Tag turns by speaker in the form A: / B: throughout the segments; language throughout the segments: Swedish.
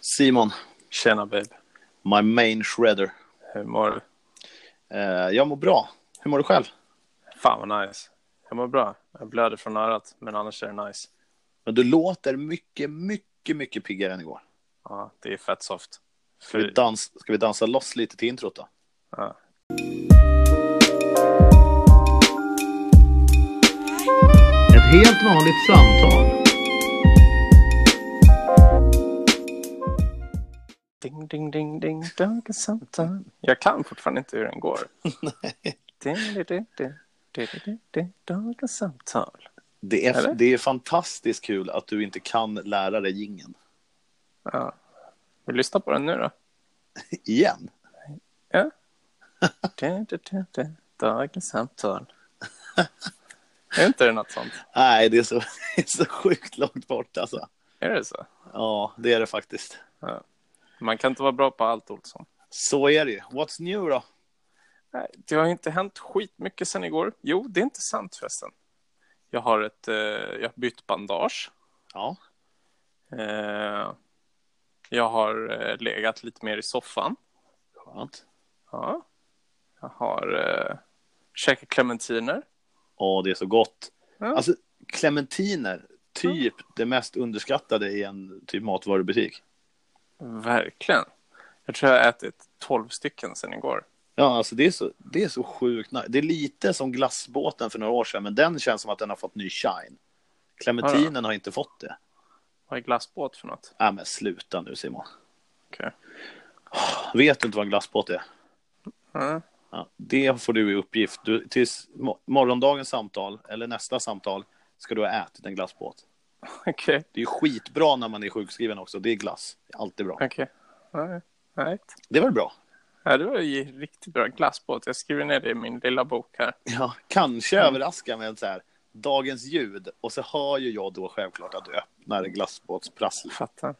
A: Simon,
B: Tjena babe.
A: my main shredder.
B: Hur mår du?
A: Eh, jag mår bra. Hur mår du själv?
B: Fan vad nice. Jag mår bra. Jag blöder från örat, men annars är det nice.
A: Men du låter mycket, mycket, mycket piggare än igår.
B: Ja, det är fett soft.
A: Ska vi, dans- ska vi dansa loss lite till introt då?
B: Ja.
A: Ett helt vanligt samtal.
B: Ding, ding, ding, ding, dagens samtal. Jag kan fortfarande inte hur den går. Ding, ding, ding, ding, ding, ding, ding, dagens samtal.
A: Det är,
B: Eller?
A: det är fantastiskt kul att du inte kan lära dig jingeln.
B: Ja. Vi lyssnar på den nu då.
A: Igen.
B: Ja. Ding, ding, ding, ding, dagens samtal. Är inte det något sånt?
A: Nej, det är så, det är så sjukt långt bort alltså.
B: Är det så?
A: Ja, det är det faktiskt.
B: Ja. Man kan inte vara bra på allt, Olsson.
A: Så är det ju. What's new då?
B: Nej, det har ju inte hänt skitmycket sen igår. Jo, det är inte sant förresten. Jag har ett, eh, jag har bytt bandage.
A: Ja,
B: Eh, jag har eh, legat lite mer i soffan.
A: skönt.
B: Ja. Jag har eh, käkat clementiner.
A: Åh, det är så gott.
B: Ja.
A: Alltså, clementiner, typ det mest underskattade i en typ matvarubutik.
B: Verkligen. Jag tror jag har ätit 12 stycken sen igår.
A: Ja, alltså det är så, det är så sjukt nice. Det är lite som glassbåten för några år sedan, men den känns som att den har fått ny shine. Clementinen har inte fått det.
B: Vad är glassbåt för något?
A: Nej, men sluta nu Simon.
B: Okej.
A: Vet du inte vad en glassbåt är?
B: Ja.
A: Ja, det får du i uppgift. Du, tills mo- morgondagens samtal, eller nästa samtal, ska du ha ätit en glassbåt.
B: Okej.
A: Det är ju skitbra när man är sjukskriven också. Det är glass. Det är Alltid bra.
B: Okej. Nej. Nej.
A: Det var väl bra?
B: Ja, det var ju riktigt bra. Glassbåt. Jag skriver ner det i min lilla bok här.
A: Ja, kanske överraska med så här dagens ljud och så hör ju jag då självklart att du öppnar glassbåtsprasslet.
B: Fattar.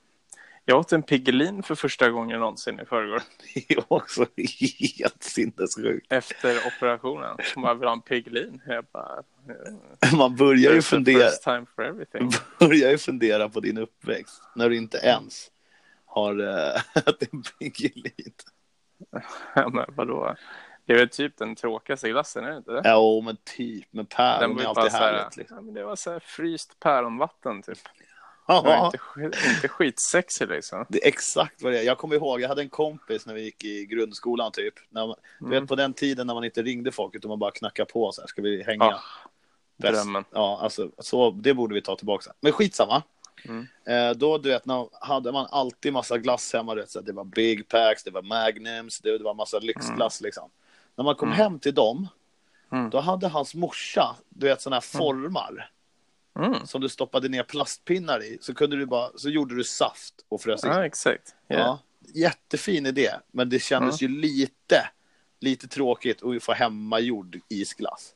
B: Jag åt en Piggelin för första gången någonsin i förrgår.
A: Det är också helt sinnessjukt.
B: Efter operationen. Hon bara, vill ha en Piggelin? Jag bara,
A: Man börjar ju, Mm.
B: "There's a
A: fundera,
B: first time for everything.
A: börjar ju fundera på din uppväxt när du inte ens har eh, ätit en Piggelin.
B: Ja, men vadå? Det är väl typ den tråkigaste glassen, är det inte det?
A: Ja, men typ, men
B: den
A: päron är
B: var ju
A: alltid
B: bara så här,
A: härligt. Liksom.
B: ja, men det var så här fryst päronvatten typ. Det var
A: Ja,
B: inte, sk- inte skitsexig liksom.
A: det är exakt vad det är. Jag kommer ihåg, jag hade en kompis när vi gick i grundskolan typ. När man, du
B: Mm.
A: vet på den tiden när man inte ringde folk utan man bara knackade på så här, ska vi hänga?
B: Ja,
A: Bäst.
B: Drömmen.
A: Ja, alltså, så, det borde vi ta tillbaka. Men skitsamma.
B: Mm.
A: Eh, då, du vet, när, hade man alltid massa glass hemma. Du vet, så här, det var Big Packs, det var Magnums, det, det var massa lyxglass liksom. När man kom hem till dem,
B: Mm.
A: då hade hans morsa, du vet, sådana här formar
B: Mm.
A: som du stoppade ner plastpinnar i. Så, kunde du bara, så gjorde du saft och frös in.
B: ja exakt. Yeah.
A: typ. Ja, jättefin idé, men det kändes ju lite, lite tråkigt att få hemmagjord isglass.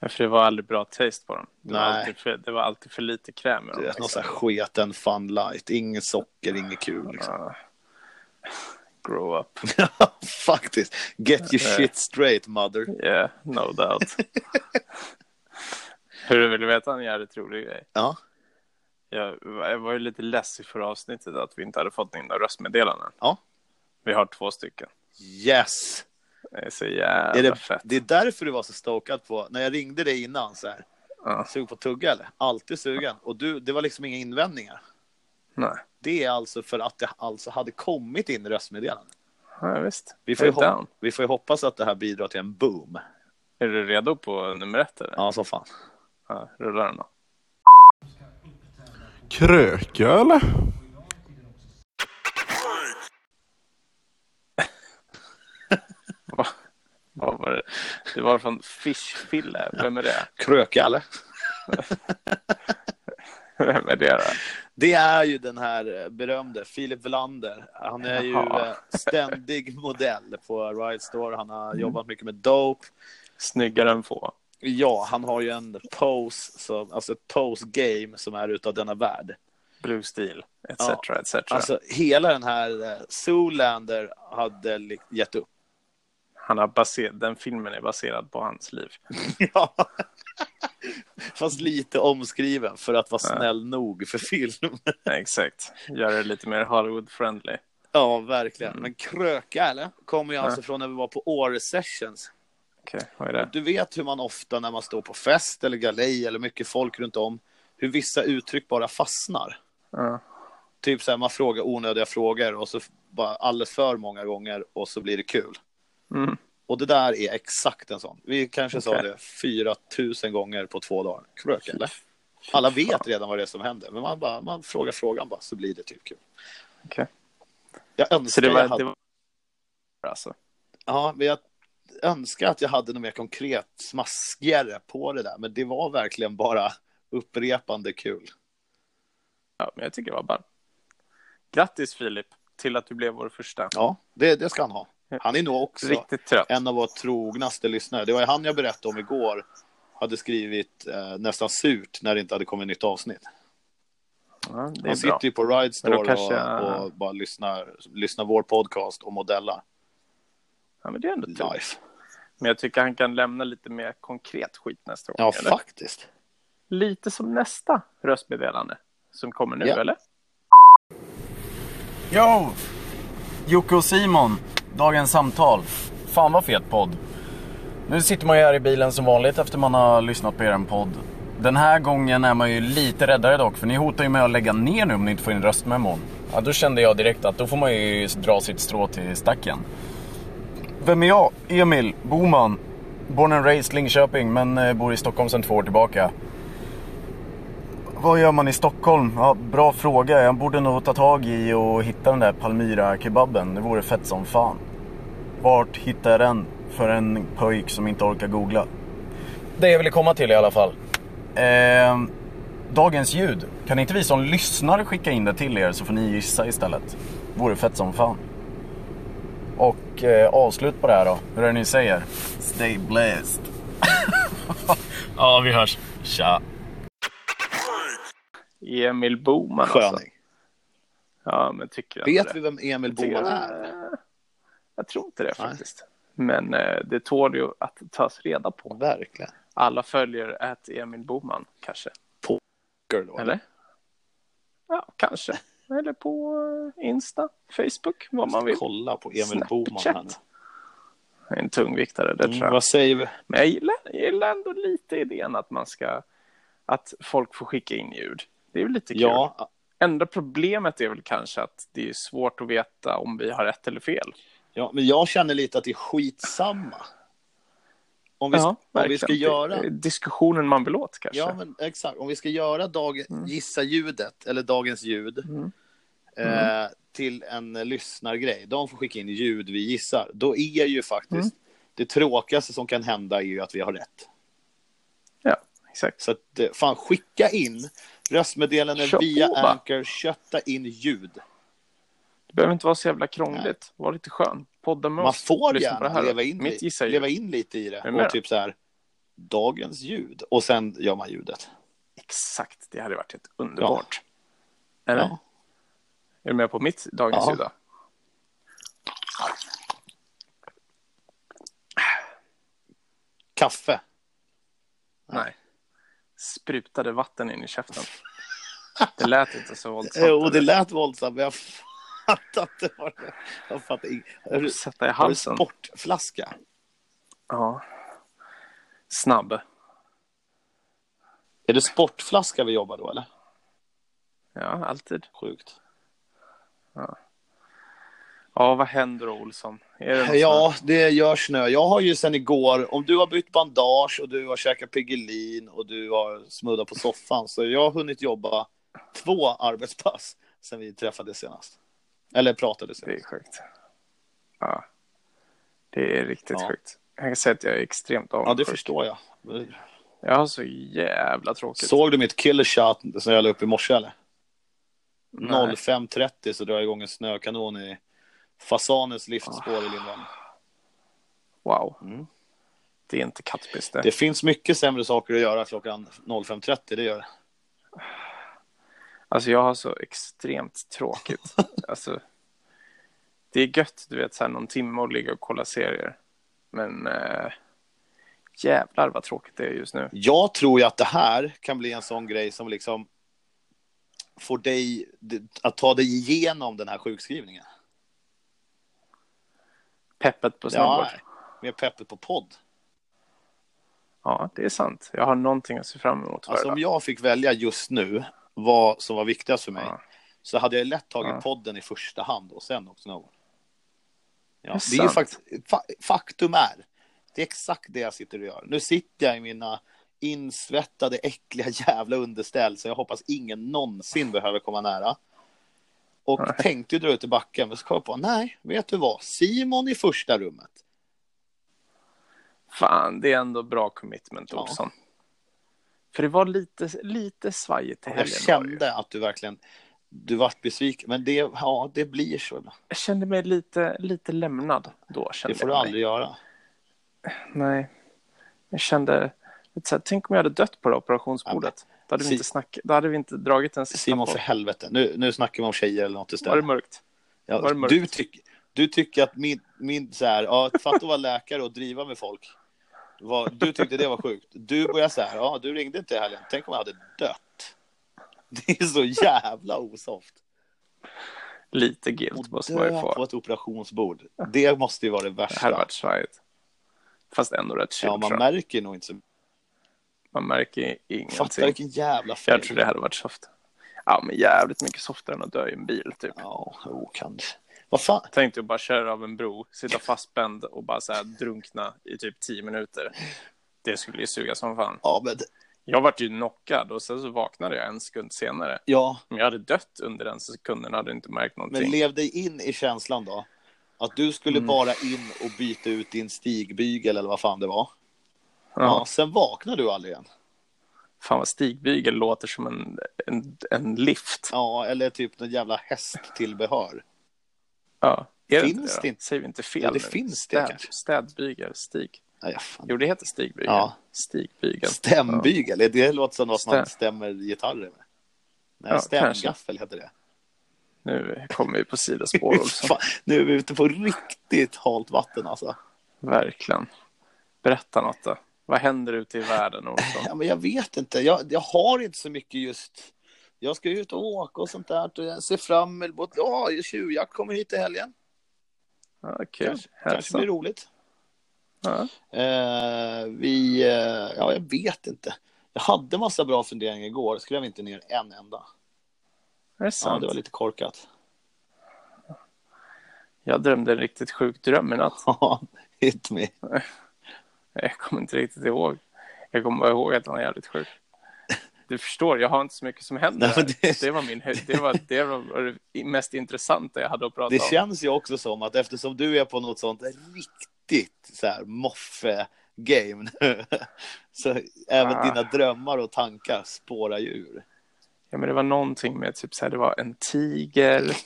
B: Ja. För det var aldrig bra taste på dem. Det, var
A: Nej.
B: alltid för, det var alltid för lite kräm i dem.
A: Du vet,
B: liksom.
A: någon sån här sketen fun light, inget socker, inget kul. Liksom.
B: Ja. Grow up.
A: Faktiskt. Get your
B: Eh.
A: shit straight mother.
B: Yeah, no doubt. Hur du vill veta en jävligt rolig grej.
A: Ja,
B: Jag, jag var ju lite less i förra avsnittet att vi inte hade fått in några röstmeddelanden.
A: ja.
B: Vi har två stycken.
A: Yes!
B: Det är så
A: Är
B: jävla
A: det,
B: fett.
A: det är därför du var så stokad på, när jag ringde dig innan så här,
B: Ja.
A: sug på tugga eller? Alltid sugen. Och du, det var liksom inga invändningar.
B: Nej,
A: Det är alltså för att det alltså hade kommit in röstmeddelanden.
B: ja, visst.
A: Vi får, ju
B: Jag är down.
A: hop- vi får ju hoppas att det här bidrar till en boom.
B: Är du redo på nummer ett eller?
A: Ja, som fan.
B: Ja, rullar den då.
C: Kröka eller?
B: Va? Vad var det? Det var från Fishfille. Vem är det?
A: Kröka eller?
B: Vem är det då?
A: Det är ju den här eh, berömde Filip Welander. Han är ju
B: Jaha.
A: eh, ständig modell på Riot Store. Han
B: Mm.
A: har jobbat mycket med dope.
B: Snyggare än få.
A: Ja, han har ju en pose, som, alltså ett pose game som är utav denna värld.
B: Blue Steel, etc.
A: Ja,
B: etc.
A: Alltså hela den här eh, Zoolander hade li- gett upp.
B: Han har baser- den filmen är baserad på hans liv.
A: Ja. Fast lite omskriven för att vara
B: Ja.
A: snäll nog för film.
B: Ja, exakt. Göra det lite mer Hollywood-friendly.
A: Ja, verkligen. Men kröka, eller? Kommer ju
B: Mm. Ja.
A: alltså från när vi var på Åre Sessions.
B: Okej, vad är det?
A: Du vet hur man ofta när man står på fest eller galej eller mycket folk runt om, hur vissa uttryck bara fastnar.
B: Ja.
A: Typ så här, man frågar onödiga frågor och så bara alldeles för många gånger och så blir det kul.
B: Mm.
A: Och det där är exakt en sån. Vi kanske sa
B: Okej.
A: det 4000 gånger på två dagar. Krök, eller? Alla vet redan vad det är som händer, men man, bara, man frågar frågan bara så blir det typ kul.
B: Okej.
A: Jag
B: Så
A: önskar
B: det
A: jag
B: var...
A: hade...
B: Det var alltså.
A: Ja, men jag önskar att jag hade något mer konkret, smaskigare på det där, men det var verkligen bara upprepande kul.
B: Ja, men jag tycker det var ball. Grattis Filip till att du blev vår första.
A: Ja, det, det ska han ha. Han är nog också
B: Riktigt trött.
A: en av våra trognaste lyssnare. Det var ju han jag berättade om igår, hade skrivit eh, nästan surt när det inte hade kommit nytt avsnitt.
B: Ja, det
A: Han
B: är bra.
A: sitter ju på Ride Store och,
B: kanske jag-
A: och bara lyssnar, lyssnar vår podcast och modellar.
B: Ja, men det är ändå tur.
A: Life.
B: Men jag tycker han kan lämna lite mer konkret skit nästa gång.
A: Ja,
B: eller?
A: faktiskt.
B: Lite som nästa röstmeddelande som kommer nu,
A: Ja.
B: eller?
C: Yo! Jocke och Simon, dagens samtal. Fan vad fet podd. Nu sitter man ju här i bilen som vanligt efter man har lyssnat på er podd. Den här gången är man ju lite räddare dock, för ni hotar ju med att lägga ner nu om ni inte får in röstmemon. Ja, då kände jag direkt att då får man ju dra sitt strå till stacken. Vem är jag? Emil Boman. Born and raised Linköping, men eh, bor i Stockholm sedan två år tillbaka. Vad gör man i Stockholm? Ja, bra fråga. Jag borde nog ta tag i och hitta den där Palmyra-kebaben. Det vore fett som fan. Vart hittar jag den för en pöjk som inte orkar googla? Det jag ville komma till i alla fall. Ehm, dagens ljud. Kan inte vi som lyssnar skicka in det till er så får ni gissa istället? Vore fett som fan. Och eh, avslut på det här då. Hur är det ni säger? Stay blessed. ja, vi hörs. Tja.
B: Emil Boman alltså.
A: Sköning.
B: Ja, men tycker jag inte
A: Vet vi
B: det.
A: vem Emil
B: Jag tycker
A: Boman
B: att-
A: är?
B: Jag tror inte det
A: Nej.
B: faktiskt. Men eh, det tål ju att tas reda på.
A: Verkligen.
B: Alla följer att Emil Boman kanske.
A: Girl, då.
B: Eller? Ja, kanske. Eller på eh, Insta, Facebook, vad man vill.
A: Kolla på Emil
B: Snapchat.
A: Boman här nu.
B: Det är En tungviktare, det tror
A: Mm,
B: jag.
A: vad säger vi?
B: Men jag gillar, jag gillar ändå lite idén att man ska... Att folk får skicka in ljud. Det är ju lite kul.
A: Ja,
B: Enda problemet är väl kanske att det är svårt att veta om vi har rätt eller fel.
A: ja, men jag känner lite att det är skitsamma. Om vi, om vi ska
B: verkligen.
A: göra...
B: Det är Diskussionen man vill åt kanske.
A: Ja, men exakt. Om vi ska göra dag... gissa ljudet, eller dagens ljud,
B: Mm.
A: Eh, till en eh, lyssnargrej. De får skicka in ljud vi gissar. Då är ju faktiskt
B: Mm.
A: det tråkigaste som kan hända är ju att vi har rätt.
B: ja exakt.
A: Så att, eh, fan, skicka in röstmeddelanden
B: Kör på,
A: via
B: va?
A: Anchor, kötta in ljud.
B: Det behöver inte vara så jävla krångligt. Var lite skön. Podda med
A: Man
B: oss.
A: får
B: Lyssna på
A: gärna
B: det här.
A: leva in,
B: Mitt
A: i,
B: gissar
A: leva
B: ju.
A: in lite i det.
B: du med?
A: Och typ så här, dagens ljud. Och sen gör man ljudet.
B: Exakt, det hade varit helt underbart. Eller?
A: Ja.
B: Är du med på mitt dagens
A: Ja.
B: ljud då?
A: Kaffe.
B: Nej. Sprutade vatten in i käften. Det lät inte så våldsamt.
A: Jo, det
B: eller?
A: lät våldsamt, men jag fattar inte vad det jag fattar ing- Har du-
B: Sätta i
A: Har du
B: halsen.
A: sportflaska?
B: Ja. Snabb.
A: Är det sportflaska vi jobbar då, eller?
B: Ja, alltid.
A: Sjukt.
B: Ja, vad händer då, Olsson? Är det något sånt
A: Ja, det gör snö. Jag har ju sen igår, om du har bytt bandage och du har käkat Piggelin och du har smuddat på soffan, så jag har hunnit jobba två arbetspass sen vi träffades senast. Eller pratade
B: här? Det är
A: senast.
B: sjukt. Ja. Det är riktigt
A: Ja.
B: sjukt. Jag kan säga att jag är extremt
A: Ja, det
B: avundsjuk.
A: förstår jag.
B: jag har så jävla tråkigt.
A: Såg du mitt killer shot som jag la upp i morse, eller?
B: Nej.
A: 05.30 så drar jag igång en snökanon i fasanens livsspår i Lindvallen.
B: Wow.
A: Mm.
B: Det är inte kattpiss det.
A: Det finns mycket sämre saker att göra klockan 05.30, det gör det.
B: Alltså jag har så extremt tråkigt. alltså, det är gött, du vet, så här någon timme och ligga och kolla serier. Men eh, Jävlar vad tråkigt det är just nu.
A: Jag tror ju att det här kan bli en sån grej som liksom får dig att ta dig igenom den här sjukskrivningen.
B: Peppet på
A: Ja,
B: snowboard. Ja.
A: med peppet på podd.
B: det är sant. Jag har någonting att se fram emot varje
A: Alltså om
B: dag.
A: jag fick välja just nu vad som var viktigast för mig
B: Ja.
A: så hade jag lätt tagit
B: Ja.
A: podden i första hand och sen åkt snowboard. Ja,
B: Det är
A: det är ju
B: sant.
A: fakt- fa- faktum är, det är exakt det jag sitter och gör. Nu sitter jag i mina insvettade, äckliga jävla underställ så jag hoppas ingen någonsin behöver komma nära. Och tänkte ju dra ut i backen, men så kom jag på, nej, vet du vad, Simon i första rummet.
B: Fan, det är ändå bra commitment,
A: Ja.
B: Olsson. För det var lite, lite svajigt i helgen.
A: Jag
B: var det ju.
A: kände att du verkligen, du vart besviken, men det, ja, det blir så ibland.
B: jag kände mig lite, lite lämnad då. Kände
A: Det får
B: jag
A: du
B: mig.
A: aldrig göra.
B: Nej. Jag kände, lite så här, tänk om jag hade dött på det operationsbordet. Då hade, vi
A: Si-
B: inte snack, då hade vi inte dragit en sista
A: Simon,
B: på-
A: för helvete. Nu, nu snackar vi om tjejer eller något
B: Var det
A: istället.
B: mörkt?
A: Ja,
B: var det mörkt?
A: du, tyck, du tycker att min, min så här, ja, fatta att vara läkare och driva med folk. Vad- du tyckte det var sjukt. Du börjar så här, ja, du ringde inte i helgen. Tänk om jag hade dött. Det är så jävla osoft.
B: Lite guilt
A: Och
B: måste man ju
A: dö på
B: få.
A: ett operationsbord. Det måste ju vara det
B: Det hade
A: värsta.
B: varit svajigt. Fast ändå rätt chill,
A: Ja, man
B: tror jag.
A: märker nog inte så
B: man märker ju ingenting.
A: Fattar vilken jävla
B: Jag
A: fel.
B: tror det hade varit soft. Ja, men jävligt mycket softare än att dö i en bil, typ.
A: Ja, jo, kanske. Vad fan?
B: Tänkte jag bara köra av en bro, sitta fastspänd och bara så här drunkna i typ tio minuter. Det skulle ju suga som fan.
A: Ja, men,
B: Jag vart ju knockad och sen så vaknade jag en sekund senare.
A: ja,
B: Om jag hade dött under den sekunden hade jag inte märkt någonting.
A: Men lev dig in i känslan då. Att du skulle
B: Mm.
A: bara in och byta ut din stigbygel eller vad fan det var.
B: ja.
A: Ja. sen vaknar du aldrig igen.
B: Fan vad stigbygel låter som en, en, en lift. Ja.
A: Ja, eller typ någon jävla hästtillbehör.
B: Är det
A: Finns
B: inte
A: det
B: det, då?
A: inte?
B: Säger vi inte fel
A: Ja, det
B: nu?
A: finns det
B: Städ,
A: kanske.
B: Städbygel, stig.
A: Nej, ja, fan.
B: Jo, det heter stigbygel.
A: Ja.
B: Stigbygel.
A: Stämbygel, det låter som något man
B: Stäm-
A: stämmer gitarrer med. Nej,
B: Ja,
A: stämgaffel heter det.
B: Ja. Nu kommer vi på sidospår också.
A: Fan, nu är vi ute på riktigt halt vatten alltså.
B: Verkligen. Berätta något då. Vad händer ute i världen, Olsson?
A: Ja, men jag vet inte. Jag, jag har inte så mycket just... Jag ska ut och åka och sånt där. Och jag ser fram emot... Ja, tjuvjakt kommer hit i helgen.
B: Ja, kul.
A: Kanske, kanske
B: Hälsa.
A: blir roligt.
B: Ja.
A: Eh, vi, eh, ja, jag vet inte. Jag hade massa bra funderingar igår, skrev inte ner en enda.
B: Är det
A: Ja,
B: sant?
A: det var lite korkat.
B: Jag drömde en riktigt sjuk dröm i natt.
A: Ja, Hit me.
B: Jag kommer inte riktigt ihåg. Jag kommer bara ihåg att han är jävligt sjuk. Du förstår, jag har inte så mycket som händer.
A: Nej, men
B: här.
A: det-
B: det... var min hö- det, var, det var det mest intressanta jag hade att prata
A: Det
B: om.
A: känns ju också som att eftersom du är på något sånt riktigt så här moffe-game nu, så även
B: Ah.
A: dina drömmar och tankar spårar ju ur.
B: Ja, men det var någonting med typ så här, det var en tiger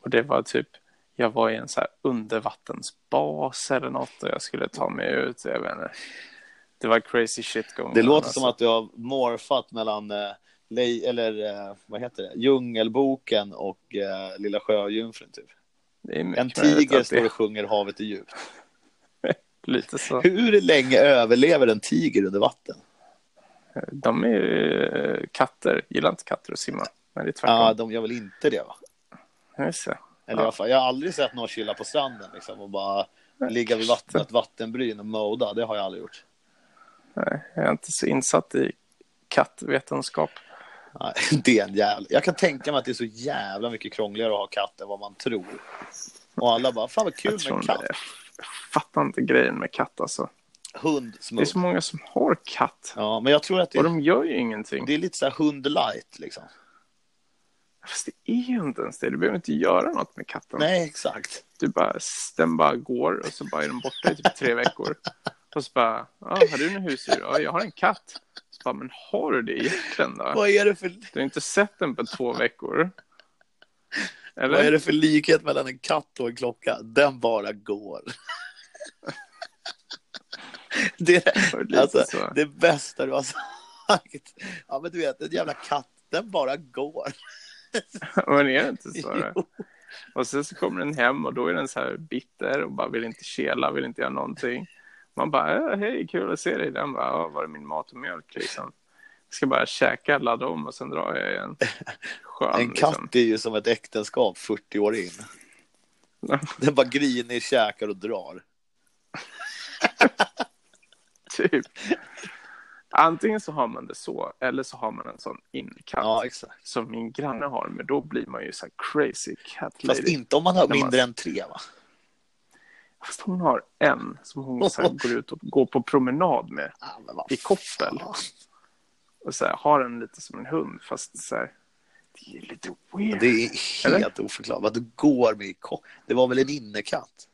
B: och det var typ jag var i en så här undervattensbas eller något och jag skulle ta mig ut. Jag vet inte. Det var crazy shit going
A: Det
B: on,
A: låter
B: alltså.
A: som att du har morfat mellan eh, lej, eller eh, vad heter det? Djungelboken och eh, Lilla sjöjungfrun. Typ.
B: det är mycket
A: En
B: möjligt
A: tiger
B: att det
A: står
B: är
A: och sjunger Havet är djupt.
B: Lite så.
A: Hur länge överlever en tiger under vatten?
B: De är ju eh, katter, gillar inte katter att simma. Men det är tvärtom.
A: Ja, de gör väl inte det? Va?
B: Just det.
A: Eller i alla fall, jag har aldrig sett någon chilla på stranden liksom, och bara ligga vid vattnet, vattenbryn och moda. Det har jag aldrig gjort.
B: Nej, jag är inte så insatt i kattvetenskap.
A: Nej, det är en jävla... Jag kan tänka mig att det är så jävla mycket krångligare att ha katt än vad man tror. Och alla bara, fan vad kul
B: Jag, tror
A: med
B: inte,
A: katt.
B: jag fattar inte grejen med katt alltså.
A: Hund,
B: Det är
A: smooth.
B: så många som har katt.
A: Ja, men jag tror att det
B: Och de gör ju ingenting.
A: Det är lite så här hund light liksom.
B: Fast det är ju inte ens det. Du behöver inte göra något med katten.
A: Nej, exakt.
B: Du bara, den bara går och så bara är den borta i typ tre veckor. Och så bara, ah, har du en husdjur? Ja, jag har en katt. Så bara, men har du det egentligen då?
A: Vad är det för,
B: Du har inte sett den på två veckor. Eller?
A: vad är det för likhet mellan en katt och en klocka? Den bara går. Det
B: Var det
A: är
B: lite
A: alltså,
B: så?
A: det bästa du har sagt. Ja, men du vet, en jävla katt, den bara går.
B: Men är det inte så?
A: Jo.
B: då? Och sen så kommer den hem och då är den så här bitter och bara vill inte kela, vill inte göra någonting. Man bara, eh, hej, kul att se dig. Den bara, ja, var är min mat och mjölk liksom? Jag ska bara käka, ladda om och sen drar jag igen. Skön,
A: En katt
B: liksom.
A: är ju som ett äktenskap 40 år in. Den bara grinig, käkar och drar.
B: typ. Antingen så har man det så, eller så har man en sån inkatt
A: Ja, exakt.
B: som min granne har, men då blir man ju så här crazy cat lady.
A: Fast inte om man har
B: När man-
A: mindre än tre, va?
B: Fast hon har en som hon så här går ut och går på promenad med
A: Ja, men vad
B: i koppel.
A: fan.
B: Och så här, har den lite som en hund, fast så här, det är lite weird.
A: Det är helt oförklarligt. Du går med i kopp. Det var väl en innekatt?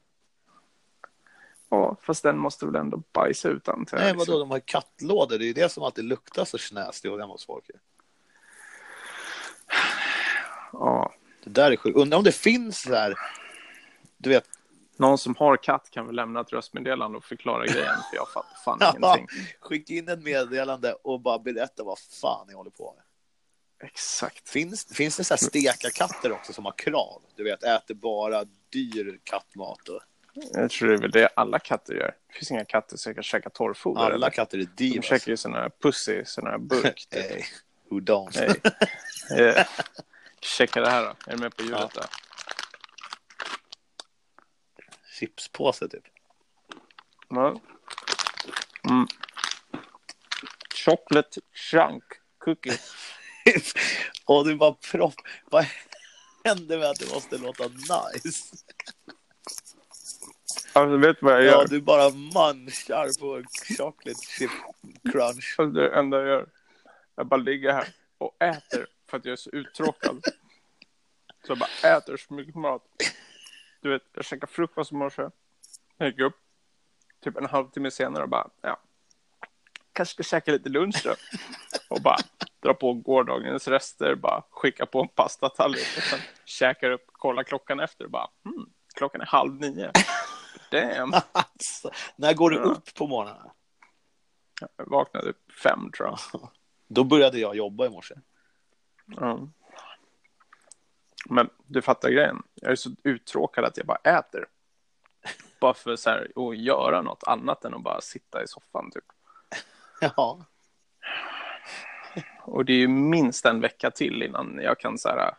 B: Ja, fast den måste väl ändå bajsa ut antar jag.
A: Nej, vadå?
B: liksom.
A: De har ju kattlådor. Det är ju det som alltid luktar så snäst och hemma hos folk.
B: Ja.
A: Det där är sjukt. Undrar om det finns där. Du vet,
B: Någon som har katt kan väl lämna ett röstmeddelande och förklara grejen, för jag fattar fan ingenting.
A: skicka in ett meddelande och bara berätta vad fan ni håller på med.
B: Exakt.
A: Finns, finns det så här stekarkatter också som har krav? Du vet, äter bara dyr kattmat. Och
B: Jag tror det är väl det alla katter gör. Det finns inga katter som kan käka torrfoder.
A: alla
B: eller?
A: katter är
B: De
A: dyr.
B: käkar ju såna här pussy, såna här burk. typ.
A: Hey, who don't?
B: Nej. Eh, Checka det här då. Är du med på ljudet?
A: Ja.
B: där?
A: Chipspåse, typ.
B: Ja. Mm. Chocolate chunk cookie.
A: och du bara propp. Vad händer med att du måste låta nice?
B: Alltså, vet du vad jag gör?
A: Ja, du bara manchar på chocolate chip crunch.
B: Alltså, det enda jag gör. Jag bara ligger här och äter för att jag är så uttråkad. Så jag bara äter så mycket mat. Du vet, jag käkade frukost i morse. Jag gick upp. Typ en halvtimme senare och bara, ja. Kanske ska käka lite lunch då. Och bara dra på gårdagens rester. Bara skicka på en pastatallrik. Och sen käkar upp, kollar klockan efter och bara, hmm, klockan är halv nio. Damn.
A: Alltså, när går du
B: Ja.
A: upp på morgonen?
B: Jag vaknade upp fem tror jag.
A: Då började jag jobba i morse.
B: Ja. Men du fattar grejen. Jag är så uttråkad att jag bara äter. Bara för så här, att göra något annat än att bara sitta i soffan. Typ.
A: Ja,
B: Och det är ju minst en vecka till innan jag kan så här,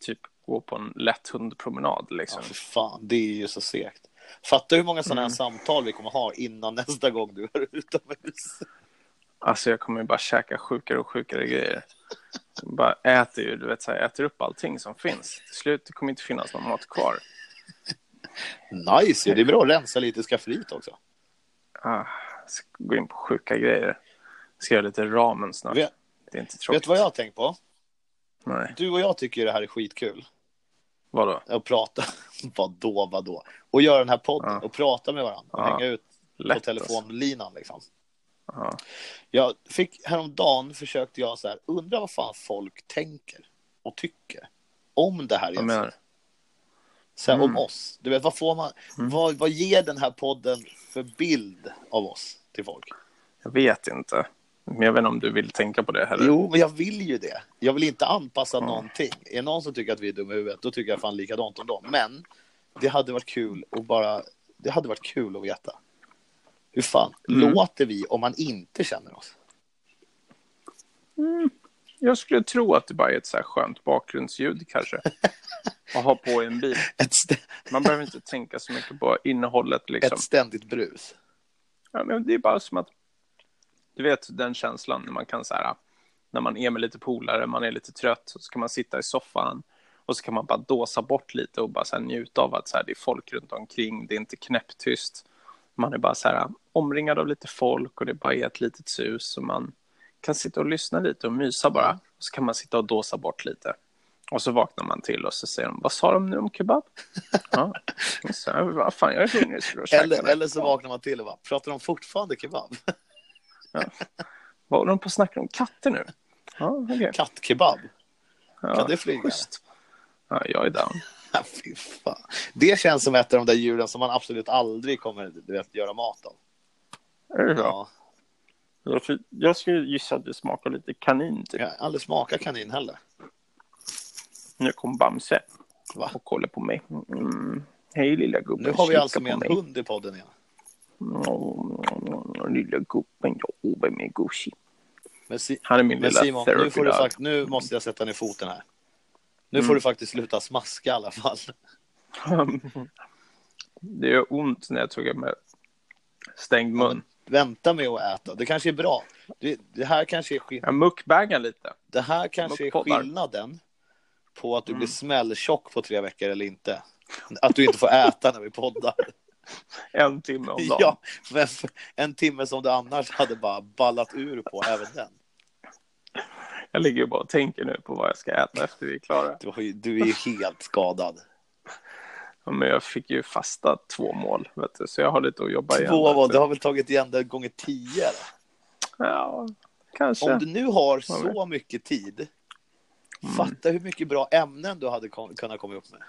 B: typ gå på en lätt hundpromenad.
A: ja
B: Liksom.
A: för fan, det är ju så segt. Fattar hur många sådana här samtal vi kommer ha innan nästa gång du är utomhus.
B: Alltså jag kommer ju bara käka sjukare och sjukare grejer. Bara äter ju, du vet, så här, äter upp allting som finns. Till slut kommer inte finnas någon mat kvar.
A: Nice ju, det är bra att rensa lite i skafferiet också.
B: Ah, ska gå in på sjuka grejer. Ska göra lite ramen snart.
A: Vet-
B: det är inte tråkigt.
A: Vet du vad jag har tänkt på?
B: Nej.
A: Du och jag tycker ju det här är skitkul.
B: Vadå?
A: Att prata, vadå, vadå? Och göra den här podden
B: Ja.
A: och prata med varandra. Och
B: Ja.
A: hänga ut på
B: Lätt alltså.
A: telefonlinan liksom.
B: Ja.
A: Jag fick häromdagen försökte jag så här, undra vad fan folk tänker och tycker om det här.
B: Jag
A: egentligen.
B: menar,
A: så här,
B: Mm.
A: Om oss. Du vet, vad, får man, vad, vad ger den här podden för bild av oss till folk?
B: jag vet inte. Men jag vet inte om du vill tänka på det heller.
A: Jo, men jag vill ju det. Jag vill inte anpassa någonting. Är det någon som tycker att vi är dumma i huvudet, då tycker jag fan likadant om dem. Men det hade varit kul att bara... Det hade varit kul att veta. Hur fan
B: Mm.
A: låter vi om man inte känner oss?
B: Jag skulle tro att det bara är ett så här skönt bakgrundsljud kanske. Att ha på i en bil.
A: Ett, st-
B: Man behöver inte tänka så mycket på innehållet liksom.
A: ett ständigt brus.
B: Ja, men det är bara som att, du vet den känslan när man kan så här, när man är med lite polare, man är lite trött, så kan man sitta i soffan och så kan man bara dåsa bort lite och bara så här njuta av att så här, det är folk runt omkring, det är inte knäpptyst. Man är bara så här omringad av lite folk och det bara är ett litet sus och man kan sitta och lyssna lite och mysa bara. Och så kan man sitta och dåsa bort lite. Och så vaknar man till och så säger de, vad sa de nu om kebab? ja, så, här, vad fan, jag är hungrig. ska du käka
A: Eller,
B: det?"
A: eller så vaknar man till och bara, pratar de fortfarande kebab?
B: Vad håller de på att snacka om? Katter nu? Ja, okej.
A: Kattkebab?
B: Ja,
A: kan det flyga?
B: schysst. Ja, jag är down.
A: Ja, Fy fan. Det känns som ett av de där djuren som man absolut aldrig kommer du vet, göra mat av.
B: Är det
A: Ja.
B: Jag, jag skulle gissa att det smakar lite kanin. Typ.
A: Jag har aldrig smakat kanin heller.
B: Nu kom Bamse
A: Va?
B: och kollar på mig. Mm. Hej lilla gubben.
A: Nu har vi
B: kika
A: alltså med
B: på
A: en
B: mig.
A: hund i podden igen.
B: Åh, Mm, Lilla gubben, ja, vem är gosig?
A: Men, si-
B: Han är min
A: men
B: lilla
A: Simon, nu,
B: therapy Mm.
A: får du
B: dog.
A: fakt- nu måste jag sätta ner foten här. Nu får du faktiskt sluta smaska i alla fall.
B: Det gör ont när jag tuggar med stängd mun.
A: Vänta med att äta. Det kanske är bra. Det, det här kanske är, skill-
B: Jag mukbangar lite.
A: det här kanske är
B: Muckpoddar.
A: skillnaden på att du
B: Mm.
A: blir smälltjock på tre veckor eller inte. Att du inte får äta när vi poddar.
B: En timme om dagen.
A: Ja, men för- en timme som du annars hade bara ballat ur på, även den.
B: Jag ligger ju bara och tänker nu på vad jag ska äta efter vi är klara.
A: Du, har ju, du är ju helt skadad.
B: Ja, Men jag fick ju fasta två mål, vet du, så jag har lite att jobba igen.
A: Två var,
B: vet
A: du
B: du.
A: har väl tagit igen det gånger tio? då?
B: Ja, kanske.
A: Om du nu har
B: Vad
A: så mycket tid,
B: Mm.
A: fatta hur mycket bra ämnen du hade kon- kunnat komma upp med.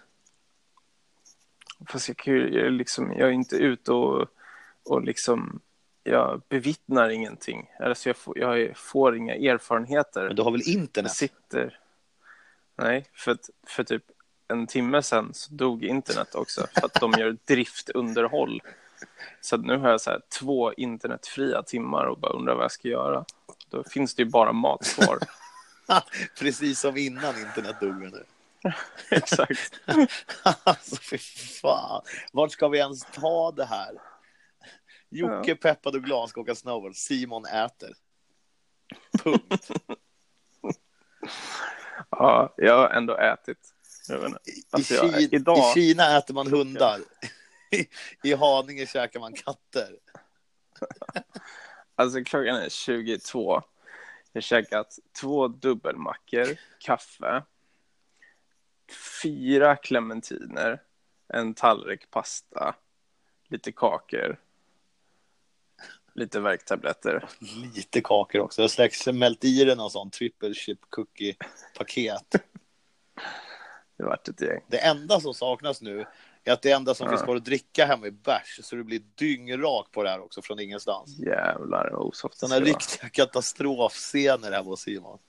B: Fast jag, kan ju- jag, är liksom, jag är inte ute och, och liksom, jag bevittnar ingenting. Alltså jag, får, jag får inga erfarenheter.
A: Men du har väl
B: Jag
A: internet?
B: sitter... Nej, för, att- för typ en timme sen så dog internet också för att de gör driftunderhåll. Så att nu har jag så här två internetfria timmar och bara undrar vad jag ska göra. Då finns det ju bara mat kvar.
A: Precis som innan internet dog. menar du?
B: Exakt.
A: alltså, fy fan. Vart ska vi ens ta det här? Jocke peppad och glad ska åka snowboard. Simon äter. Punkt.
B: Ja, jag har ändå ätit. Jag vet inte.
A: I,
B: Alltså, jag,
A: Ki-
B: idag,
A: I Kina äter man hundar. I, I Haninge käkar man katter.
B: alltså klockan är 22. Jag har käkat två dubbelmackor, kaffe, fyra clementiner, en tallrik pasta, lite kakor, lite värktabletter.
A: Lite kakor också. Jag släck- smält i den någon sån triple chip cookie paket.
B: Det vart ett gäng.
A: Det enda som saknas nu är att det enda som finns kvar att dricka hemma är bärs, så du blir dyngrak på det här också från ingenstans.
B: Jävlar vad osoft det
A: Sådana
B: ska vara.
A: riktiga katastrofscener hemma hos Simon.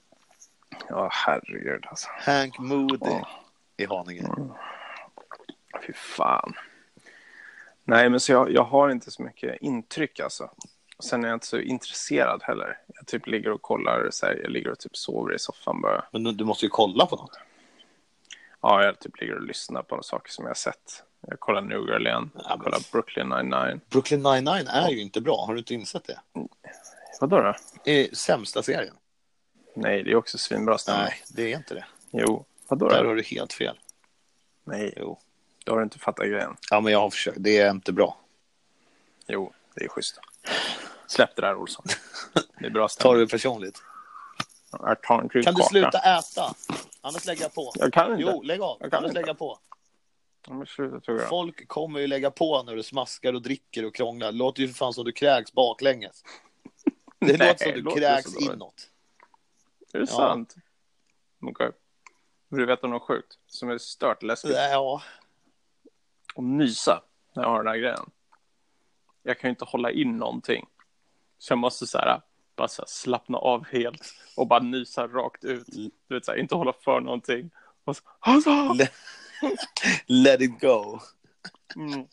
B: Ja, herregud alltså.
A: Hank Moody
B: Ja. Mm.
A: i Haninge.
B: Fy fan. Nej, men så jag, jag har inte så mycket intryck alltså. Sen är jag inte så intresserad heller. Jag typ ligger och kollar, så här, jag ligger och typ sover i soffan bara.
A: Men du- du måste ju kolla på något.
B: Ja, jag typ ligger och lyssnar på saker som jag har sett. Jag kollar New Girl igen, jag kollar Brooklyn 99.
A: Brooklyn 99 är ju inte bra, har du inte insett det?
B: Vadå då?
A: Det är sämsta serien.
B: Nej, det är också svinbra stämning.
A: Nej, det är inte det.
B: Jo, vadå
A: Där
B: då?
A: har du helt fel.
B: Nej,
A: Jo.
B: då har du inte fattat grejen.
A: Ja, men jag har försökt. Det är inte bra.
B: Jo, det är schysst. Släpp det där, Olsson. Det är bra
A: Tar
B: stämning.
A: du det personligt?
B: Jag tar en
A: Kan du
B: kaka.
A: sluta äta? Annars lägger jag på.
B: Jag kan inte.
A: Jo, lägg av.
B: Jag kan
A: Annars
B: inte.
A: lägger jag på.
B: Ja, men sluta tugga.
A: Folk kommer ju lägga på när du smaskar och dricker och krånglar. Det låter ju för fan som du kräks baklänges. Det
B: Nej,
A: låter som du
B: låter
A: kräks
B: så dåligt.
A: inåt.
B: Är det
A: Ja.
B: sant? Okej. Vill du veta något sjukt som är stört läskigt?
A: Nej, Ja,
B: Och nysa när jag har den här grejen. Jag kan ju inte hålla in någonting. Så jag måste så här, bara så här, slappna av helt och bara nysa rakt ut.
A: Mm.
B: Du vet, så här, inte hålla för någonting. Och så, alltså!
A: Le- let it go.
B: mm.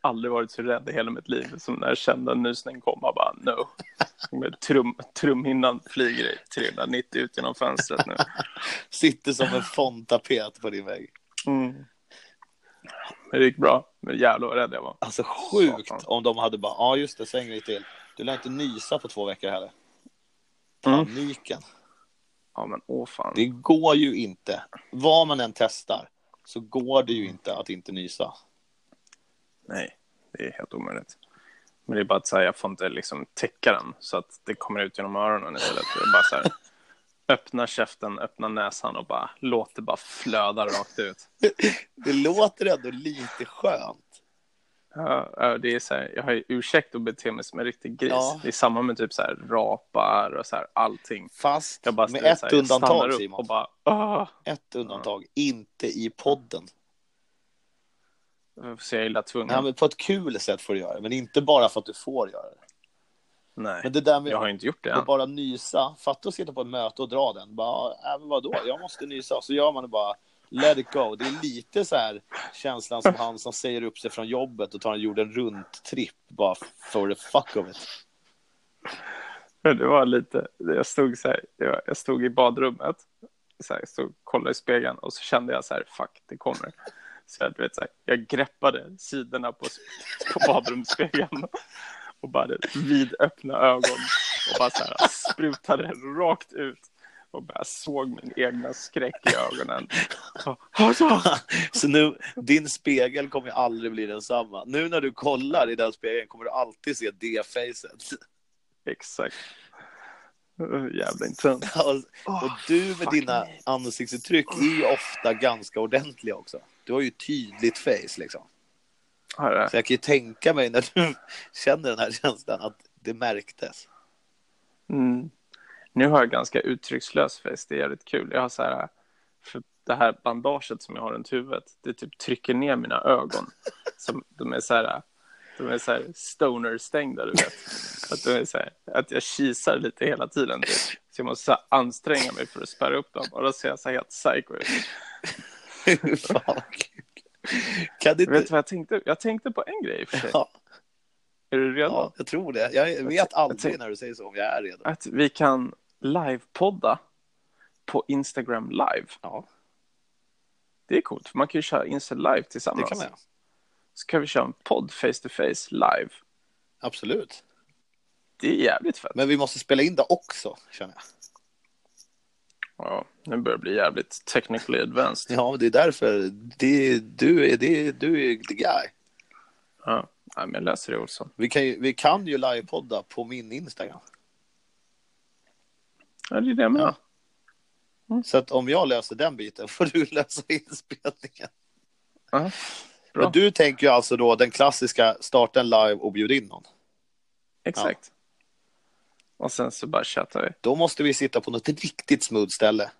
B: Aldrig varit så rädd i hela mitt liv som när jag kände en nysning komma. Bara no. Med Trum, trumhinnan flyger i 390 ut genom fönstret nu.
A: Sitter som en fondtapet på din vägg.
B: Mm. Men det gick bra. Men jävlar vad rädd jag var.
A: Alltså sjukt
B: Satan.
A: om de hade bara, ja just det, sväng dig till. Du lär inte nysa på två veckor heller.
B: Mm.
A: Paniken.
B: Ja men åh fan.
A: Det går ju inte. Vad man än testar så går det ju inte att inte nysa.
B: Nej, det är helt omöjligt. Men det är bara att så här, jag får inte liksom täcka den så att det kommer ut genom öronen istället. Jag bara så här, öppna käften, öppna näsan och bara låt det bara flöda rakt ut.
A: Det låter ändå lite skönt.
B: Ja, ja, det är så här, jag har ju ursäkt att bete mig som en riktig gris.
A: Ja.
B: Det är samma med typ så här rapar och så här allting.
A: Fast
B: Jag bara,
A: med
B: det är så
A: ett
B: här, jag stannar
A: undantag
B: upp
A: Simon.
B: Och bara, Mm. "Ah!"
A: Ett undantag, inte i podden.
B: så jag är illa tvungen.
A: Ja, men på ett kul sätt får du göra det, men inte bara för att du får göra det.
B: Nej,
A: Men det där med
B: jag har ju inte gjort det
A: att
B: än.
A: bara nysa, fatta att sitta på ett möte och dra den. Bara, äh, men vadå, jag måste nysa. Så gör man det bara, Let it go. Det är lite så här känslan som han som säger upp sig från jobbet och tar en jorden runt-tripp bara for the fuck of it.
B: Men det var lite, jag stod, så här, jag, jag stod i badrummet, så här, stod, kollade i spegeln och så kände jag så här, fuck, det kommer. Så jag, du vet, så här, jag greppade sidorna på, på badrumsspegeln och bara vidöppna ögon och bara så här, sprutade rakt ut och bara såg min egna skräck i ögonen. Alltså!
A: Så nu, din spegel kommer ju aldrig bli densamma. Nu när du kollar i den spegeln kommer du alltid se det facet.
B: Exakt. Uh, Jävla intressant.
A: Och, och du med
B: fuck
A: dina
B: me.
A: ansiktsuttryck är ju ofta ganska ordentliga också. Du har ju tydligt face liksom.
B: Har jag-
A: Så jag kan ju tänka mig när du känner den här känslan att det märktes.
B: Mm. Nu har jag ganska uttryckslös face, det är jävligt kul. Jag har så här, för det här bandaget som jag har runt huvudet, det typ trycker ner mina ögon. Som, de är så här, de är så här stoner-stängda, du vet. Att, de är så här, att jag kisar lite hela tiden, typ. Så jag måste så här, anstränga mig för att spärra upp dem. Och då ser jag så här helt psycho ut.
A: Fan vad kul. Kan du
B: Vet du
A: inte...
B: vad jag tänkte? Jag tänkte på en grej i och för sig.
A: Ja,
B: Är du redo?
A: ja, jag tror det. Jag vet
B: tänk-
A: aldrig när du säger så om jag är redo.
B: Att vi kan livepodda på Instagram live.
A: Ja,
B: Det är coolt, för man kan ju köra Insta live
A: det
B: tillsammans.
A: kan man göra.
B: så kan vi köra en podd face to face live.
A: Absolut.
B: Det är jävligt fett.
A: Men vi måste spela in det också, känner jag.
B: Ja, nu börjar det bli jävligt technically advanced.
A: Ja, men det är därför. Det, du, är, det, du är the guy.
B: Ja, nej, men jag löser det också.
A: Vi kan ju, vi kan ju livepodda på min Instagram.
B: Ja, det är det jag menar.
A: Så att om jag löser den biten får du lösa inspelningen.
B: Ja. Bra.
A: Men du tänker ju alltså då den klassiska starta en live och bjud in någon.
B: Exakt. Och sen så bara chattar vi.
A: Då måste vi sitta på något riktigt smooth ställe.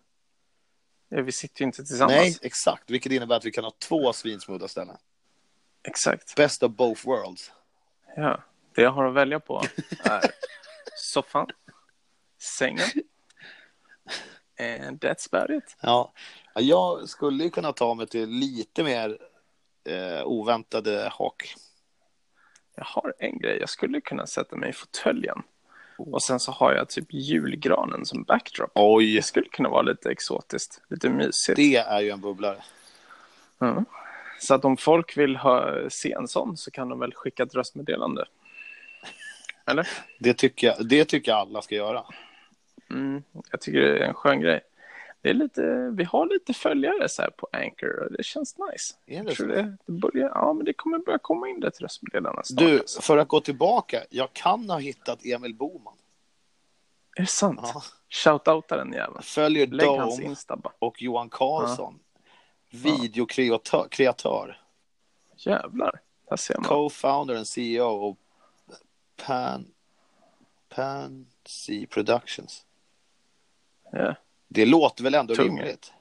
B: Ja, vi sitter ju inte tillsammans.
A: Nej, exakt. Vilket innebär att vi kan ha två svinsmooda ställen.
B: Exakt.
A: Best of both worlds.
B: Ja. Det jag har att välja på är soffan, sängen. eh, And that's about it.
A: Ja, Ja, jag skulle ju kunna ta mig till lite mer eh, oväntade hak.
B: Jag har en grej. Jag skulle kunna sätta mig i fåtöljen. Och sen så har jag typ julgranen som backdrop.
A: Oj,
B: Det skulle kunna vara lite exotiskt, lite mysigt.
A: det är ju en bubblare.
B: Ja. Så att om folk vill ha, se en sån så kan de väl skicka ett röstmeddelande. Eller?
A: Det tycker jag, det tycker jag alla ska göra.
B: Mm, jag tycker det är en skön grej. Det är lite, vi har lite följare så här på Anchor och det känns nice.
A: Är det
B: jag tror
A: så?
B: det, det börjar, ja, men det kommer börja komma in ett röstmeddelande snart.
A: Du,
B: alltså.
A: för att gå tillbaka, jag kan ha hittat Emil Boman.
B: Är det sant?
A: Ja.
B: Shoutouta den jäveln.
A: Följer
B: Lägg hans
A: Dome
B: Insta bara.
A: och Johan Karlsson. Videokreatör, kreatör,
B: Jävlar. Där ser man.
A: co-founder and CEO och Pan, Pansy Productions.
B: Ja.
A: Det låter väl ändå
B: Tung.
A: rimligt?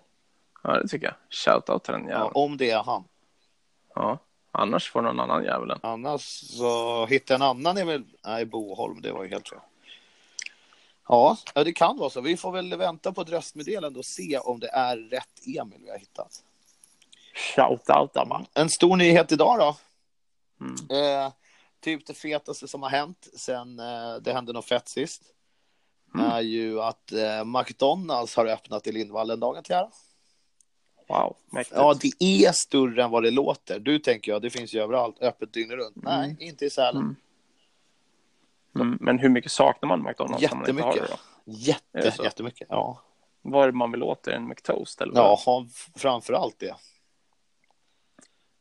B: ja, det tycker jag. Shoutouta den
A: Ja,
B: jäveln. Ja,
A: om det är han.
B: Annars får någon annan jäveln.
A: Annars så hitta en annan är väl... Nej, Boholm, det var ju helt fel. Ja, ja, det kan vara så. Vi får väl vänta på ett röstmeddelande och se om det är rätt Emil vi har hittat.
B: Shoutouta bara.
A: En stor nyhet idag då.
B: Mm.
A: Eh, typ det fetaste som har hänt sen eh, det hände något fett sist. Är ju att eh, McDonalds har öppnat i Lindvallen dagen till ära.
B: Wow, mäktigt.
A: Ja, det är större än vad det låter. Du tänker jag, det finns ju överallt, öppet dygnet runt. Nej, inte i Sälen.
B: Mm. Mm, men hur mycket saknar man McDonalds? när man inte har
A: Jättemycket.
B: det då? Är det
A: Jätte,
B: så?
A: jättemycket. Ja.
B: Vad är det man vill åt? Är det en McToast eller vad?
A: ja, ha- framför allt det.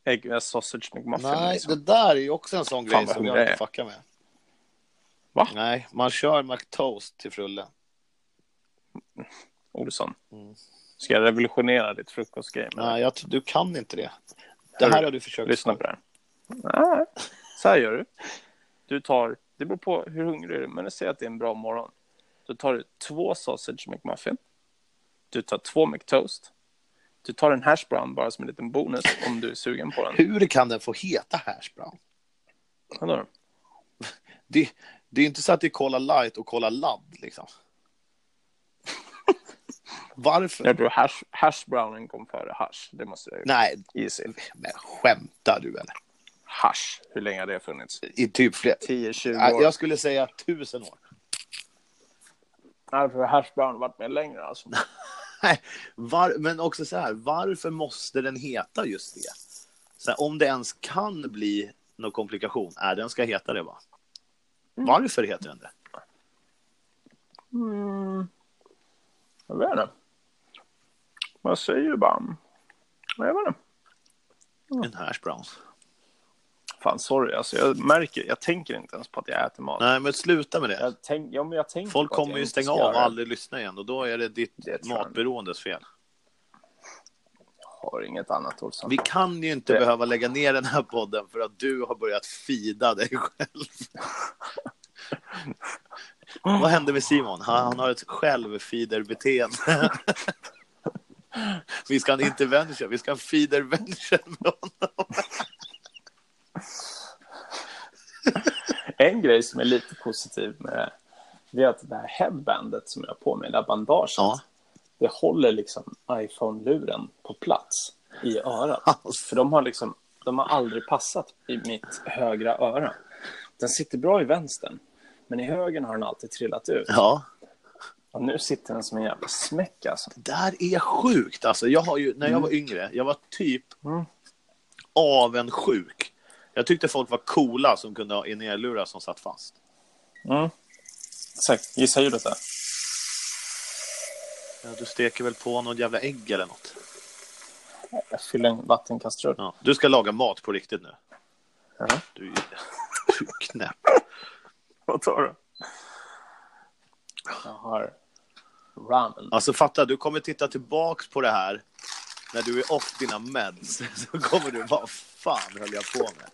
B: Ägg, eh, sausage McMuffin?
A: Nej,
B: liksom.
A: det där är ju också en sån
B: Fan,
A: grej
B: vad
A: som jag
B: hungrig
A: inte
B: jag är.
A: fuckar med.
B: Va?
A: Nej, man kör McToast till frullen.
B: Olsson.
A: Mm.
B: Ska jag revolutionera ditt frukostgrej? med
A: Nej, jag, tror- du kan inte det. Det
B: Hörru,
A: här har du
B: det?
A: försökt.
B: Lyssna på det här. Nej, så här gör du. Du tar, det beror på hur hungrig du är, men jag säger att det är en bra morgon. Då tar du två sausage McMuffin. Du tar två McToast. Du tar en hash brown bara som en liten bonus om du är sugen på den.
A: Hur kan den få heta hash brown?
B: Vadå?
A: Det, det är inte så att det är Cola light och Cola ladd liksom. Varför?
B: Jag tror hash, hashbrownen kom före hash. Det måste jag ju
A: Nej,
B: gissa.
A: men skämtar du eller?
B: Hash, hur länge har det funnits?
A: I typ fler.
B: 10-20
A: Ja,
B: år.
A: Jag skulle säga tusen år.
B: Jag tror hashbrown har varit med längre alltså.
A: Nej, var, men också så här, varför måste den heta just det? Så här, om det ens kan bli någon komplikation, är den ska heta det va? Varför heter den det?
B: Jag vet inte. Man säger ju bara... Jag vet inte.
A: En hash browns.
B: Fan sorry alltså. Jag märker, jag tänker inte ens på att jag äter mat.
A: Nej, men sluta med det.
B: Jag tänk, ja, men jag tänker
A: Folk
B: på att jag
A: kommer ju
B: inte
A: stänga
B: ska
A: av och
B: göra det.
A: aldrig lyssna igen och då är det ditt
B: Det tror jag.
A: matberoendes fel.
B: Jag har inget annat ord som...
A: Vi kan ju inte
B: Det-
A: behöva lägga ner den här podden för att du har börjat fida dig själv. Vad hände med Simon? Han, han har ett självfiderbeteende. vi ska ha en intervention, vi ska ha en feedervention med honom.
B: En grej som är lite positiv med det, det är att det här headbandet som jag har på mig, det här bandaget,
A: Ja.
B: det håller liksom iPhone-luren på plats i örat.
A: Alltså.
B: För de har liksom, de har aldrig passat i mitt högra öra. Den sitter bra i vänstern, men i högern har den alltid trillat ut.
A: Ja,
B: Och nu sitter den som en jävla smäck alltså.
A: det där är sjukt alltså. Jag har ju, när jag var yngre, jag var typ avundsjuk. Jag tyckte folk var coola som kunde ha in lurar som satt fast.
B: Mm. Exakt, gissa ljudet där.
A: Ja, du steker väl på något jävla ägg eller något?
B: Jag fyller en vattenkastrull.
A: Ja. Du ska laga mat på riktigt nu.
B: Ja.
A: Du, du är knäpp.
B: Vad tar du? Jag har ramen.
A: Alltså fatta, du kommer titta tillbaks på det här när du är off dina meds. Så kommer du bara, fan höll jag på med?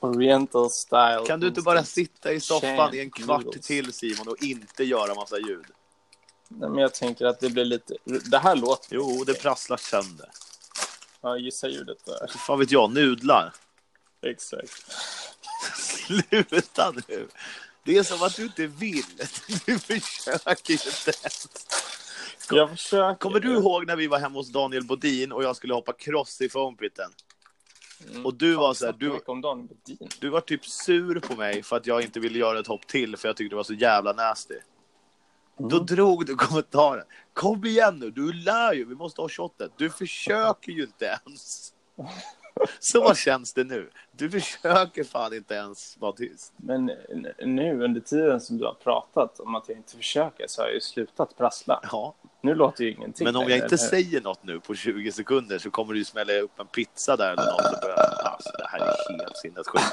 B: Oriental style.
A: Kan du inte bara sitta i soffan i en kvart
B: Noodles.
A: till Simon och inte göra massa ljud?
B: Nej, men jag tänker att det blir lite... Det här låter...
A: Jo, det prasslar sönder.
B: Ja, gissa ljudet där.
A: Fan vet jag, nudlar.
B: Exakt.
A: Sluta nu! Det är som att du inte vill. Du försöker inte ens.
B: Jag försöker.
A: Kommer du ihåg när vi var hemma hos Daniel Bodin och jag skulle hoppa cross i foampiten? Och du var så här, du,
B: om Daniel Bedin.
A: du var typ sur på mig för att jag inte ville göra ett hopp till för jag tyckte det var så jävla nasty. Då drog du kommentaren. Kom igen nu, du lär ju, vi måste ha shotet. Du försöker ju inte ens. Så känns det nu. Du försöker fan inte ens vara tyst.
B: Men n- nu under tiden som du har pratat om att jag inte försöker så har jag ju slutat prassla.
A: Ja,
B: Nu låter ju ingenting
A: men om
B: längre,
A: jag inte
B: eller hur?
A: säger något nu på 20 sekunder så kommer du ju smälla upp en pizza där eller något. och börja- Alltså, det här är helt sinnessjukt.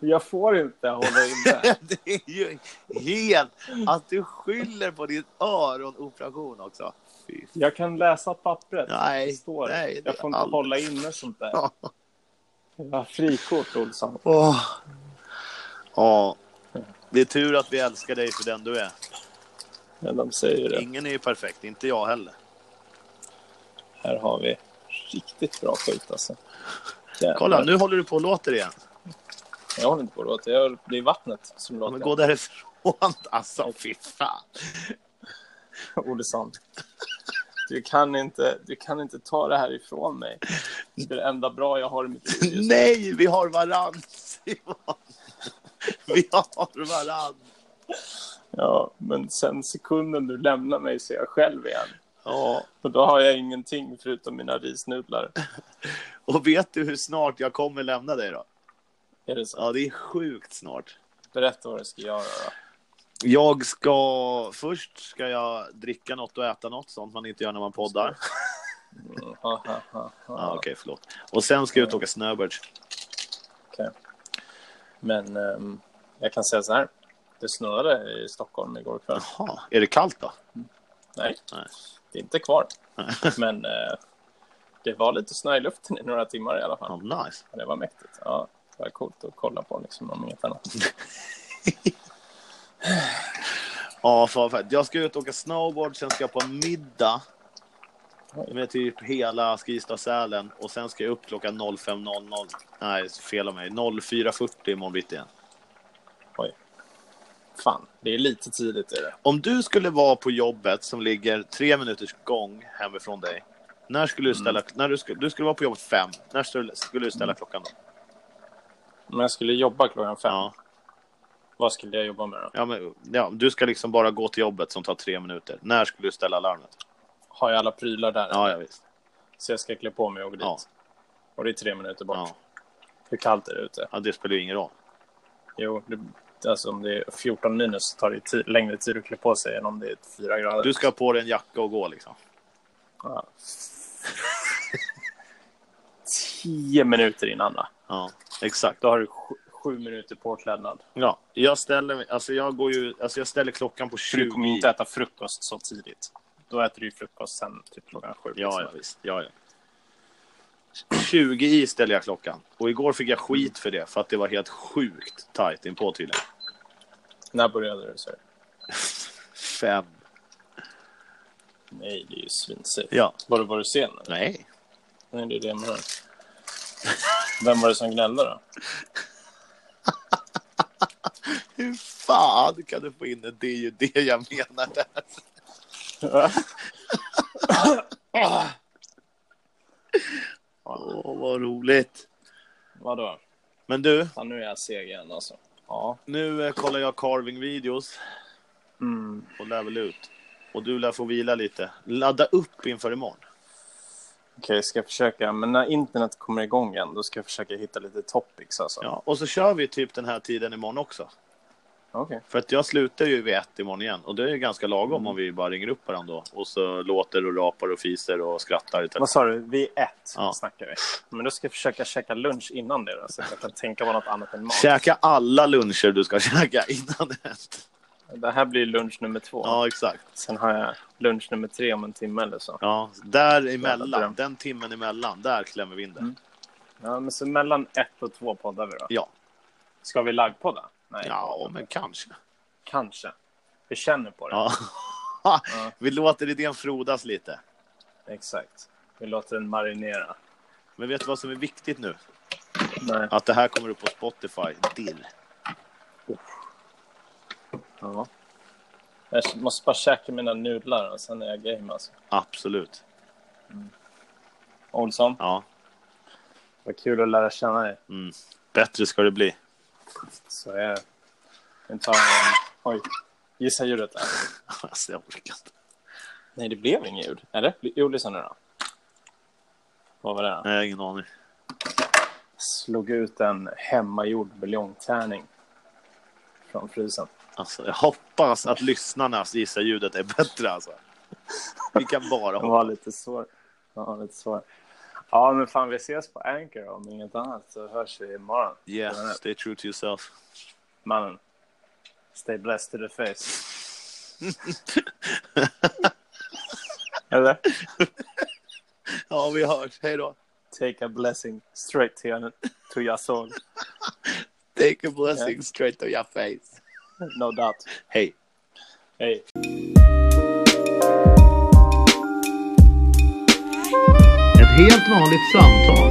B: Jag får inte hålla inne.
A: Det är ju helt... Att du skyller på din öronoperation också. Fy
B: Jag kan läsa pappret.
A: Nej,
B: det står.
A: nej, det
B: jag får inte
A: aldrig.
B: hålla inne sånt där.
A: Ja.
B: Jag har frikort, Olsson.
A: Åh. Ja. Det är tur att vi älskar dig för den du är.
B: Ja, de säger det.
A: Ingen är ju perfekt, inte jag heller.
B: Här har vi riktigt bra skit alltså. Jävlar.
A: Kolla, nu håller du på och låter igen.
B: Jag håller inte på att låta. Jag, det är vattnet som
A: Ja,
B: låter.
A: Men gå därifrån. Alltså, fy fan.
B: Ole Sand. Du kan, inte, du kan inte ta det här ifrån mig. Det är det enda bra jag har i mitt liv. just nu.
A: Nej, vi har varann, Simon. Vi har varann.
B: Ja, men sen sekunden du lämnar mig så är jag själv igen.
A: Ja.
B: Och då har jag ingenting förutom mina risnudlar.
A: Och vet du hur snart jag kommer lämna dig då?
B: Är det så?
A: Ja, det är sjukt snart.
B: Berätta vad du ska göra då.
A: Jag ska... Först ska jag dricka något och äta något, sånt man inte gör när man poddar.
B: Mm, ha, ha, ha,
A: Ja,
B: ha.
A: Okej, förlåt. Och sen ska jag ut och åka snöbirds.
B: Okej. Men ehm, jag kan säga så här. Det snöade i Stockholm igår kväll.
A: Jaha, är det kallt då?
B: Nej,
A: Nej.
B: det är inte kvar. Men eh, det var lite snö i luften i några timmar i alla fall.
A: Ja, nice.
B: Ja, Det var mäktigt. Ja, det var coolt att kolla på liksom, om inget annat.
A: Ja, fan, fan. Jag ska ut och åka snowboard, sen ska jag på en middag med typ hela Skistad-Sälen och sen ska jag upp klockan 05.00. Nej, fel av mig. 04.40 imorgon bitti igen.
B: Oj. fan, det är lite tidigt. Är det.
A: Om du skulle vara på jobbet som ligger tre minuters gång hemifrån dig. När skulle du ställa... När du, skulle, du skulle vara på jobbet fem. När skulle, skulle du ställa klockan då?
B: Men jag skulle jobba klockan fem.
A: Ja.
B: Vad skulle jag jobba med då?
A: Ja, men, ja, du ska liksom bara gå till jobbet som tar tre minuter. När skulle du ställa larmet?
B: Har jag alla prylar där?
A: Ja, ja visst.
B: Så jag ska klä på mig och gå dit.
A: Ja.
B: Och det är tre minuter bort.
A: Ja.
B: Hur kallt är det ute?
A: Ja, det spelar ju ingen roll.
B: Jo, det, alltså om det är 14 minus så tar det ti- längre tid att klä på sig än om det är 4 grader.
A: Du ska ha på dig en jacka och gå liksom.
B: Ja. Tio minuter innan då.
A: Ja, exakt.
B: Då har du sju, sju minuter påklädnad.
A: Ja, jag ställer mig- alltså jag går ju, alltså jag ställer klockan på
B: För du kommer
A: 20.
B: ju inte äta frukost så tidigt. Då äter du ju frukost sen typ klockan sju.
A: Ja, ja
B: liksom.
A: visst. Ja, ja. 20 i ställer jag klockan. Och igår fick jag skit för det, för att det var helt sjukt tajt inpå tydligen.
B: När började du? Så?
A: Fem.
B: Nej, det är ju svinsafe.
A: Ja.
B: Var du, var du sen? Eller?
A: Nej.
B: Nej, det är det jag menar. Vem var det som gnällde då?
A: Hur fan kan du få in det? Det är ju det jag menar där. Åh, vad roligt.
B: Vadå?
A: Men du,
B: Fan, nu är jag seg igen alltså. Ja.
A: nu eh, kollar jag carving-videos
B: Mm.
A: och lär väl ut. Och du lär få vila lite. Ladda upp inför imorgon.
B: Okej, ska jag försöka. Men när internet kommer igång igen, då ska jag försöka hitta lite topics alltså.
A: Ja, och så kör vi typ den här tiden imorgon också.
B: Okej.
A: För att jag slutar ju vid ett imorgon igen. Och det är ju ganska lagom om vi bara ringer upp varandra då. Och så låter och rapar och fiser och skrattar. i telefon.
B: Vad sa du? Vid ett
A: Ja.
B: snackar vi. Men då ska jag försöka käka lunch innan det då, så att jag kan tänka på något annat än mat.
A: Käka alla luncher du ska käka innan ett.
B: Det här blir lunch nummer två.
A: Ja, exakt.
B: Sen har jag lunch nummer tre om en timme eller så.
A: Ja,
B: Jävla
A: däremellan,
B: dröm.
A: den timmen emellan, där klämmer vi in det.
B: Mm. Ja, men så mellan ett och två poddar vi då.
A: Ja.
B: Ska vi laggpodda? Nej.
A: ja, men kanske.
B: Kanske. Vi känner på det.
A: Ja. vi låter idén frodas lite.
B: Exakt. Vi låter den marinera.
A: Men vet du vad som är viktigt nu?
B: Nej.
A: Att det här kommer upp på Spotify. Dirr.
B: Ja. Jag måste bara käka mina nudlar och sen är jag game alltså.
A: Absolut.
B: Olsson,
A: Ja.
B: vad kul att lära känna dig.
A: Mm. Bättre ska det bli.
B: Så är det. Vi tar en... Oj. Gissa ljudet där.
A: Alltså, jag orkar inte.
B: Nej, det blev inget ljud. Eller? Jo, lyssna nu då. Vad var det då?
A: Nej, jag har ingen aning.
B: Slog ut en hemmagjord buljongtärning från frysen.
A: Alltså, jag hoppas att lyssnarnas gissa-ljudet är bättre. Alltså. Vi kan bara
B: Den
A: hoppas.
B: var lite svår. Den var lite svår. Ja, men fan, vi ses på Anchor om inget annat så hörs vi imorgon.
A: Yes, stay true to yourself.
B: Mannen. Stay blessed to the face. Eller?
A: Ja, vi hörs. Hej då.
B: Take a blessing straight to your, to your soul.
A: Take a blessing straight to your face.
B: No doubt.
A: Hej.
B: Hej.
A: Ett helt vanligt samtal